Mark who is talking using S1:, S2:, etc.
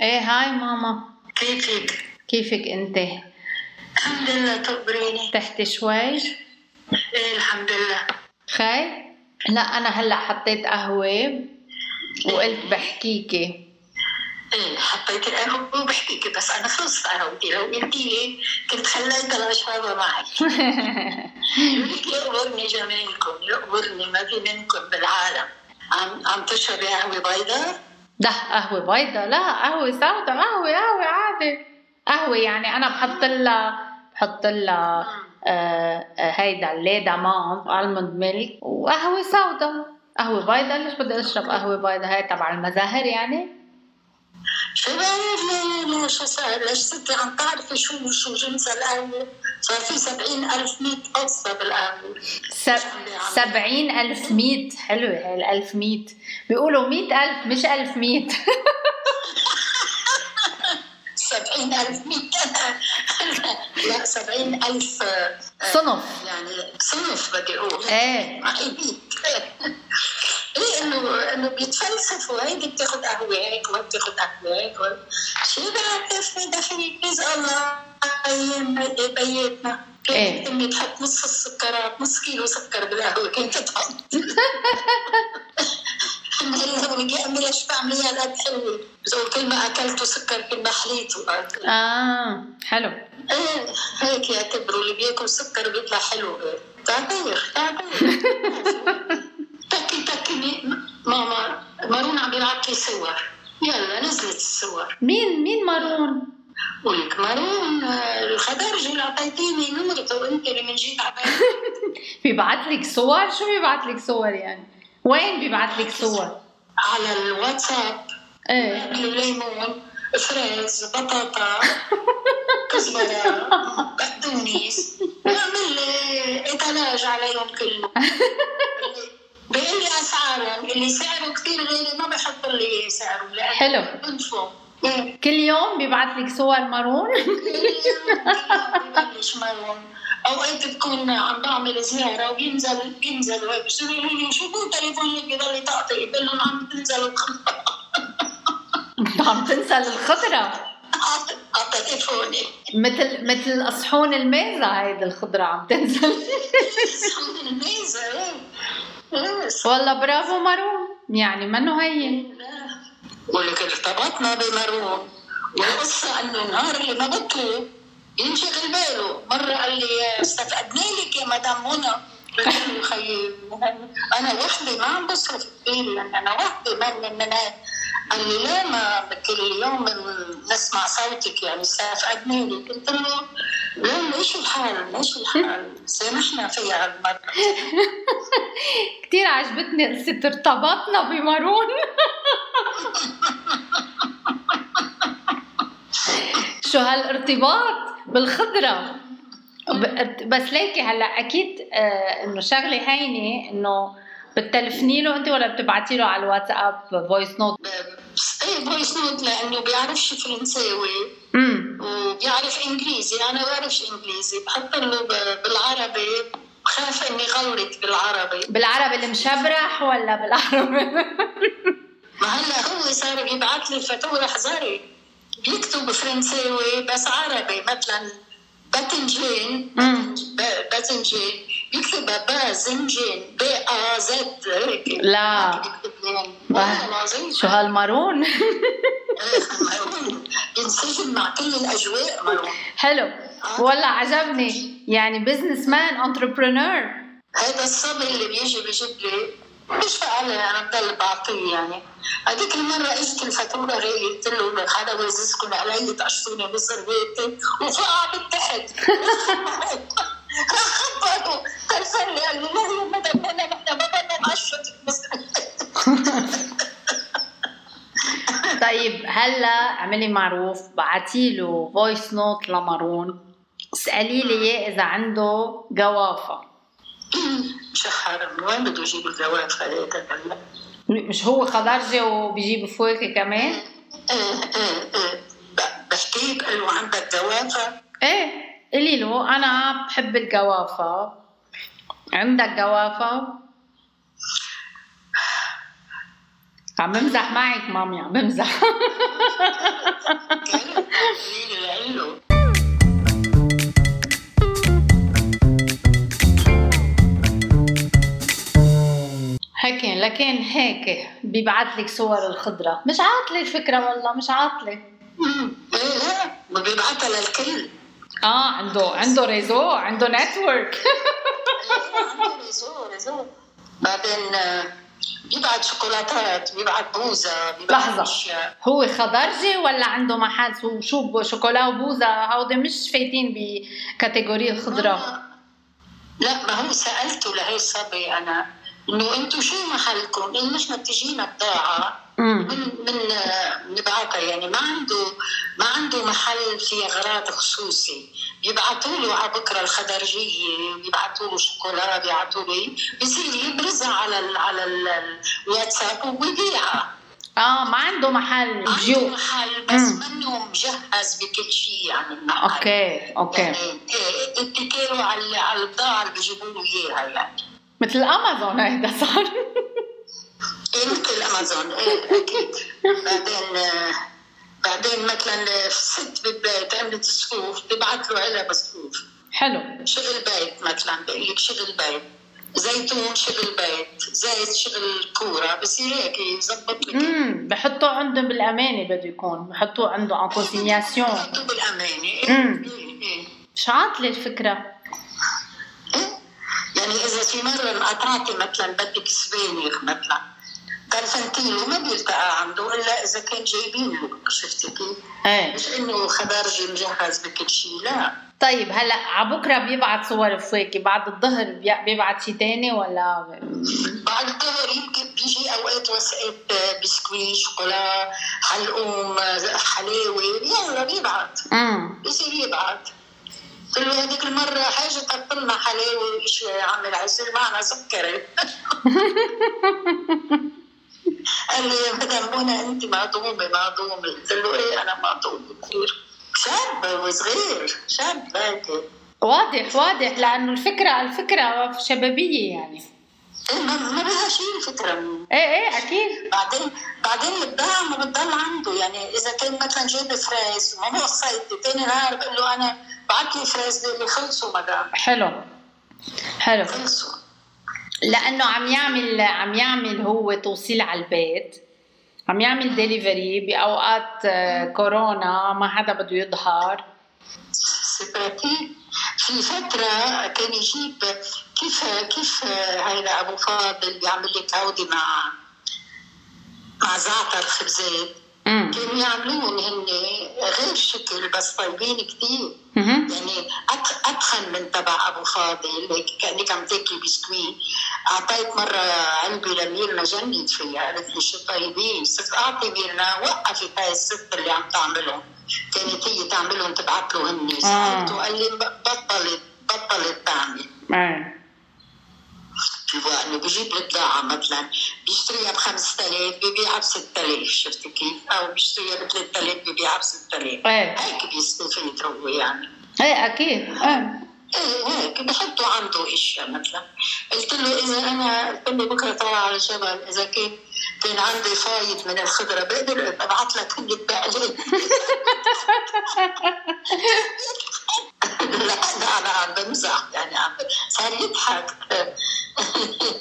S1: إيه، هاي ماما
S2: كيفك؟
S1: كيفك انت
S2: الحمد لله تخبريني
S1: تحت شوي
S2: ايه الحمد لله
S1: خي لا انا هلا حطيت قهوه وقلت بحكيكي
S2: ايه حطيت القهوة وبحكيك بس انا خلصت قهوتي لو قلتي لي كنت خليتها لاشربها معك لك يقبرني جمالكم يقبرني ما في منكم بالعالم عم عم تشربي قهوة بيضاء؟
S1: ده قهوه بيضة لا قهوه سوداء قهوه قهوه عادي قهوه يعني انا بحط لها بحط لها آه، آه، هيدا اللي دامونت الموند ميلك وقهوه سوداء قهوه بيضة ليش بدي اشرب قهوه بيضة هاي تبع المزاهر يعني
S2: شو بعرف ليه ليه شو صار ليش ستي عم تعرفي شو شو جنس القهوة؟ صار في سبعين ألف مية قصة بالقهوة
S1: سب... سبعين ألف ميت حلوة هاي الألف ميت بيقولوا ميت ألف مش ألف ميت
S2: سبعين ألف مية لا سبعين ألف آه، آه،
S1: صنف
S2: يعني صنف بدي اقول
S1: ايه
S2: معيدين ايه انه انه بيتفلسفوا هيدي بتاخذ قهوه هيك وهيك بتاخذ قهوه هيك شو بعرفني دخلي بيز الله يم- بياتنا
S1: إيه.
S2: كانت امي تحط نص السكرات نص كيلو سكر بالقهوه كانت تحط نقول لها امي ليش بعمليها هالقد حلوه؟ بتقول كل ما اكلته سكر كل ما حليته
S1: اه حلو
S2: ايه هيك يعتبروا اللي بياكل سكر بيطلع حلو إيه. تعبير تعبير تكي تكي مي- ماما مارون عم يبعث لي صور يلا نزلت الصور
S1: مين مين مارون
S2: ولك مارون آه، الخدرجي اللي اعطيتيني نمرته وانت اللي من جيت عبالي
S1: بيبعت لك صور شو بيبعت لك صور يعني وين بيبعت لك صور
S2: على الواتساب
S1: ايه
S2: قالوا ليمون فريز بطاطا كزبره بقدونس بعمل لي ايطالاج عليهم كلهم بيقول لي اسعارهم اللي سعره كثير غالي ما بحط لي سعره لانه
S1: حلو
S2: بنفو إيه.
S1: كل يوم بيبعت لك صور مارون
S2: ببلش مرهم اوقات بكون عم بعمل زياره وبينزل بينزل هيك بصيروا يقولوا لي شو بو تليفونك بضل يطقطق بقول لهم عم تنزل
S1: عم تنسى الخضرة
S2: على تليفوني
S1: مثل مثل صحون الميزة هيدي الخضرة عم تنزل
S2: الميزة إيه. إيه.
S1: والله برافو مارون يعني منه هين
S2: ولك ارتبطنا بمرون والقصة انه النهار اللي ما بطلوا ينشغل باله مرة قال لي استفقدنا لك يا مدام منى قلت له خيي انا وحدي ما عم بصرف كثير لان انا وحدي ما من هيك قال لي لا ما كل يوم نسمع صوتك يعني استفقدنا لك قلت له لا ماشي الحال ماشي الحال سامحنا فيها هالمرة
S1: كتير عجبتني قصة ارتبطنا بمارون شو هالارتباط بالخضرة ب- بس ليكي هلا اكيد آه، انه شغله هينه انه بتلفني له انت ولا بتبعتي له على الواتساب فويس نوت
S2: ايه فويس نوت لانه بيعرفش فرنساوي
S1: امم
S2: وبيعرف انجليزي انا بعرفش انجليزي بحط له ب- بالعربي بخاف اني غلط بالعربي
S1: بالعربي المشبرح ولا بالعربي
S2: ما هلا هو صار بيبعث لي فتوى احذري بيكتب فرنساوي بس عربي مثلا باتنجين
S1: مم.
S2: ب- باتنجين بيكتبها بازنجين ب ا زد هيك
S1: لا.
S2: هيك بيكتب لي يعني. والله العظيم
S1: شو هالمارون
S2: ينسجم مع كل الاجواء مرون
S1: حلو والله عجبني يعني بزنس مان انتربرنور
S2: هذا الصبي اللي بيجي بيجيب لي بشفق عليه انا بضل بعطيه يعني هذيك المره اجت الفاتوره غاليه قلت له هذا وزيزكم علي تقشطوني بصر بيتي وفقع بالتحت خبطوا تلفن لي قال لي لا يا مدام انا نحن ما بدنا نقشطك بصر
S1: طيب هلا اعملي معروف بعتي له فويس نوت لمارون اسالي لي اياه اذا عنده جوافه
S2: شحر من وين بده يجيب الجواف هذا هلا؟
S1: مش هو خضرجي وبيجيب فواكه كمان
S2: ايه ايه ايه ب- بحكيه بقول له عندك جوافه
S1: ايه قولي له انا بحب الجوافه عندك جوافه عم بمزح معك مامي عم بمزح
S2: كان قليل لعله
S1: هيك لكن هيك بيبعت لك صور الخضره مش عاطله الفكره والله مش عاطله
S2: أمم، ايه لا ما بيبعتها للكل
S1: اه عنده عنده ريزو عنده نتورك
S2: ريزو ريزو بعدين آه، بيبعت شوكولاتات بيبعت بوزة بيبعت
S1: لحظة.
S2: أشياء.
S1: هو خضرجي ولا عنده محل شو- شو شوكولا وبوزة هودي مش فايتين بكاتيجوري الخضرة
S2: ما- لا ما هو سألته لهي الصبي أنا إنه أنتم شو محلكم؟ إن نحن بتجينا بضاعة
S1: امم
S2: من من آه، بنبعتها يعني ما عنده ما عنده محل في أغراض خصوصي بيبعتوا له على بكره الخضرجيه بيبعتوا له شوكولا بيبعتوا له إيه؟ بصير يبرزها على ال على ال- الواتساب وبيبيعها
S1: اه ما عنده محل
S2: عنده
S1: جيو
S2: محل أيوة، بس
S1: مم.
S2: منه مجهز بكل شيء يعني المحل
S1: اوكي اوكي
S2: يعني إيه، اتكلوا على على البضاعه اللي بيجيبوا له اياها يعني
S1: مثل امازون هيدا صار
S2: إيه، مثل امازون ايه اكيد بعدين آه، بعدين مثلا ست بب- تعمل صفوف ببعث له علب صفوف
S1: حلو
S2: شغل بيت مثلا بقول لك شغل بيت زيتون شغل بيت زيت شغل كوره بصير هيك يظبط لك
S1: امم بحطوه عندهم بالامانه بده يكون بحطوه عنده ان كونسينياسيون
S2: حطوه بالامانه إيه،
S1: مم.
S2: إيه، إيه.
S1: مش عاطله الفكره
S2: يعني اذا في مره انقطعتي مثلا بدك سبانخ مثلا كرفنتيلو ما بيلتقى عنده الا اذا كان جايبين له شفتي كيف؟
S1: ايه
S2: مش انه خضارجي مجهز بكل شيء لا
S1: طيب هلا على بكره بيبعت صور الفواكه بعد الظهر بي- بيبعت شي تاني ولا
S2: بعد الظهر يمكن بيجي اوقات وثائق بسكويت شوكولا حلقوم حلاوه يلا بيبعت
S1: امم
S2: بصير يبعت قلت له هذيك المره حاجه طلنا حلاوه وإيش يا عم العسل معنا سكري قال لي يا مدام منى انت مهضومه مهضومه قلت له ايه انا مهضومه كثير شاب وصغير شاب هيك
S1: واضح واضح لانه الفكره الفكره شبابيه يعني
S2: إيه، ما ما بها شيء الفكره
S1: ايه ايه اكيد
S2: بعدين بعدين الضاعة ما بتضل عنده يعني اذا كان مثلا جايب فرايز وما وصيتي ثاني نهار بقول له انا بعت لي فرايز اللي خلصوا مدام
S1: حلو حلو
S2: خلصوا
S1: لانه عم يعمل عم يعمل هو توصيل على البيت عم يعمل ديليفري باوقات آه، كورونا ما حدا بده يظهر
S2: سيباتي في فترة كان يجيب كيف كيف هيدا أبو فاضل بيعمل لك عودة مع مع زعتر خبزات
S1: امم
S2: كانوا يعملوهم هن غير شكل بس طيبين كتير
S1: مهم.
S2: يعني أت- أتخن من تبع أبو فاضل هيك كأنك عم تاكلي بسكويت أعطيت مرة علبة لميرنا جنت فيها قالت لي شو طيبين صرت أعطي ميرنا وقفت هاي الست اللي عم تعملهم كانت هي تعملهم تبعت له هن سألته قال لي ب- بطلت بطلت تعمل
S1: إيه.
S2: شوفوا انه بجيب البضاعة مثلا بيشتريها ب 5000 ببيعها ب 6000 شفت كيف؟ او بيشتريها ب 3000 ببيعها ب 6000
S1: ايه
S2: هيك بيستفيد هو يعني
S1: ايه اكيد ايه
S2: ايه هيك بحطوا عنده اشياء مثلا قلت له اذا انا قلت له بكره طالعه على جبل اذا كان كان عندي فايض من الخضره بقدر ابعث لك كل البقلين
S1: إيه.
S2: لا لا انا عم بمزح يعني عم صار يضحك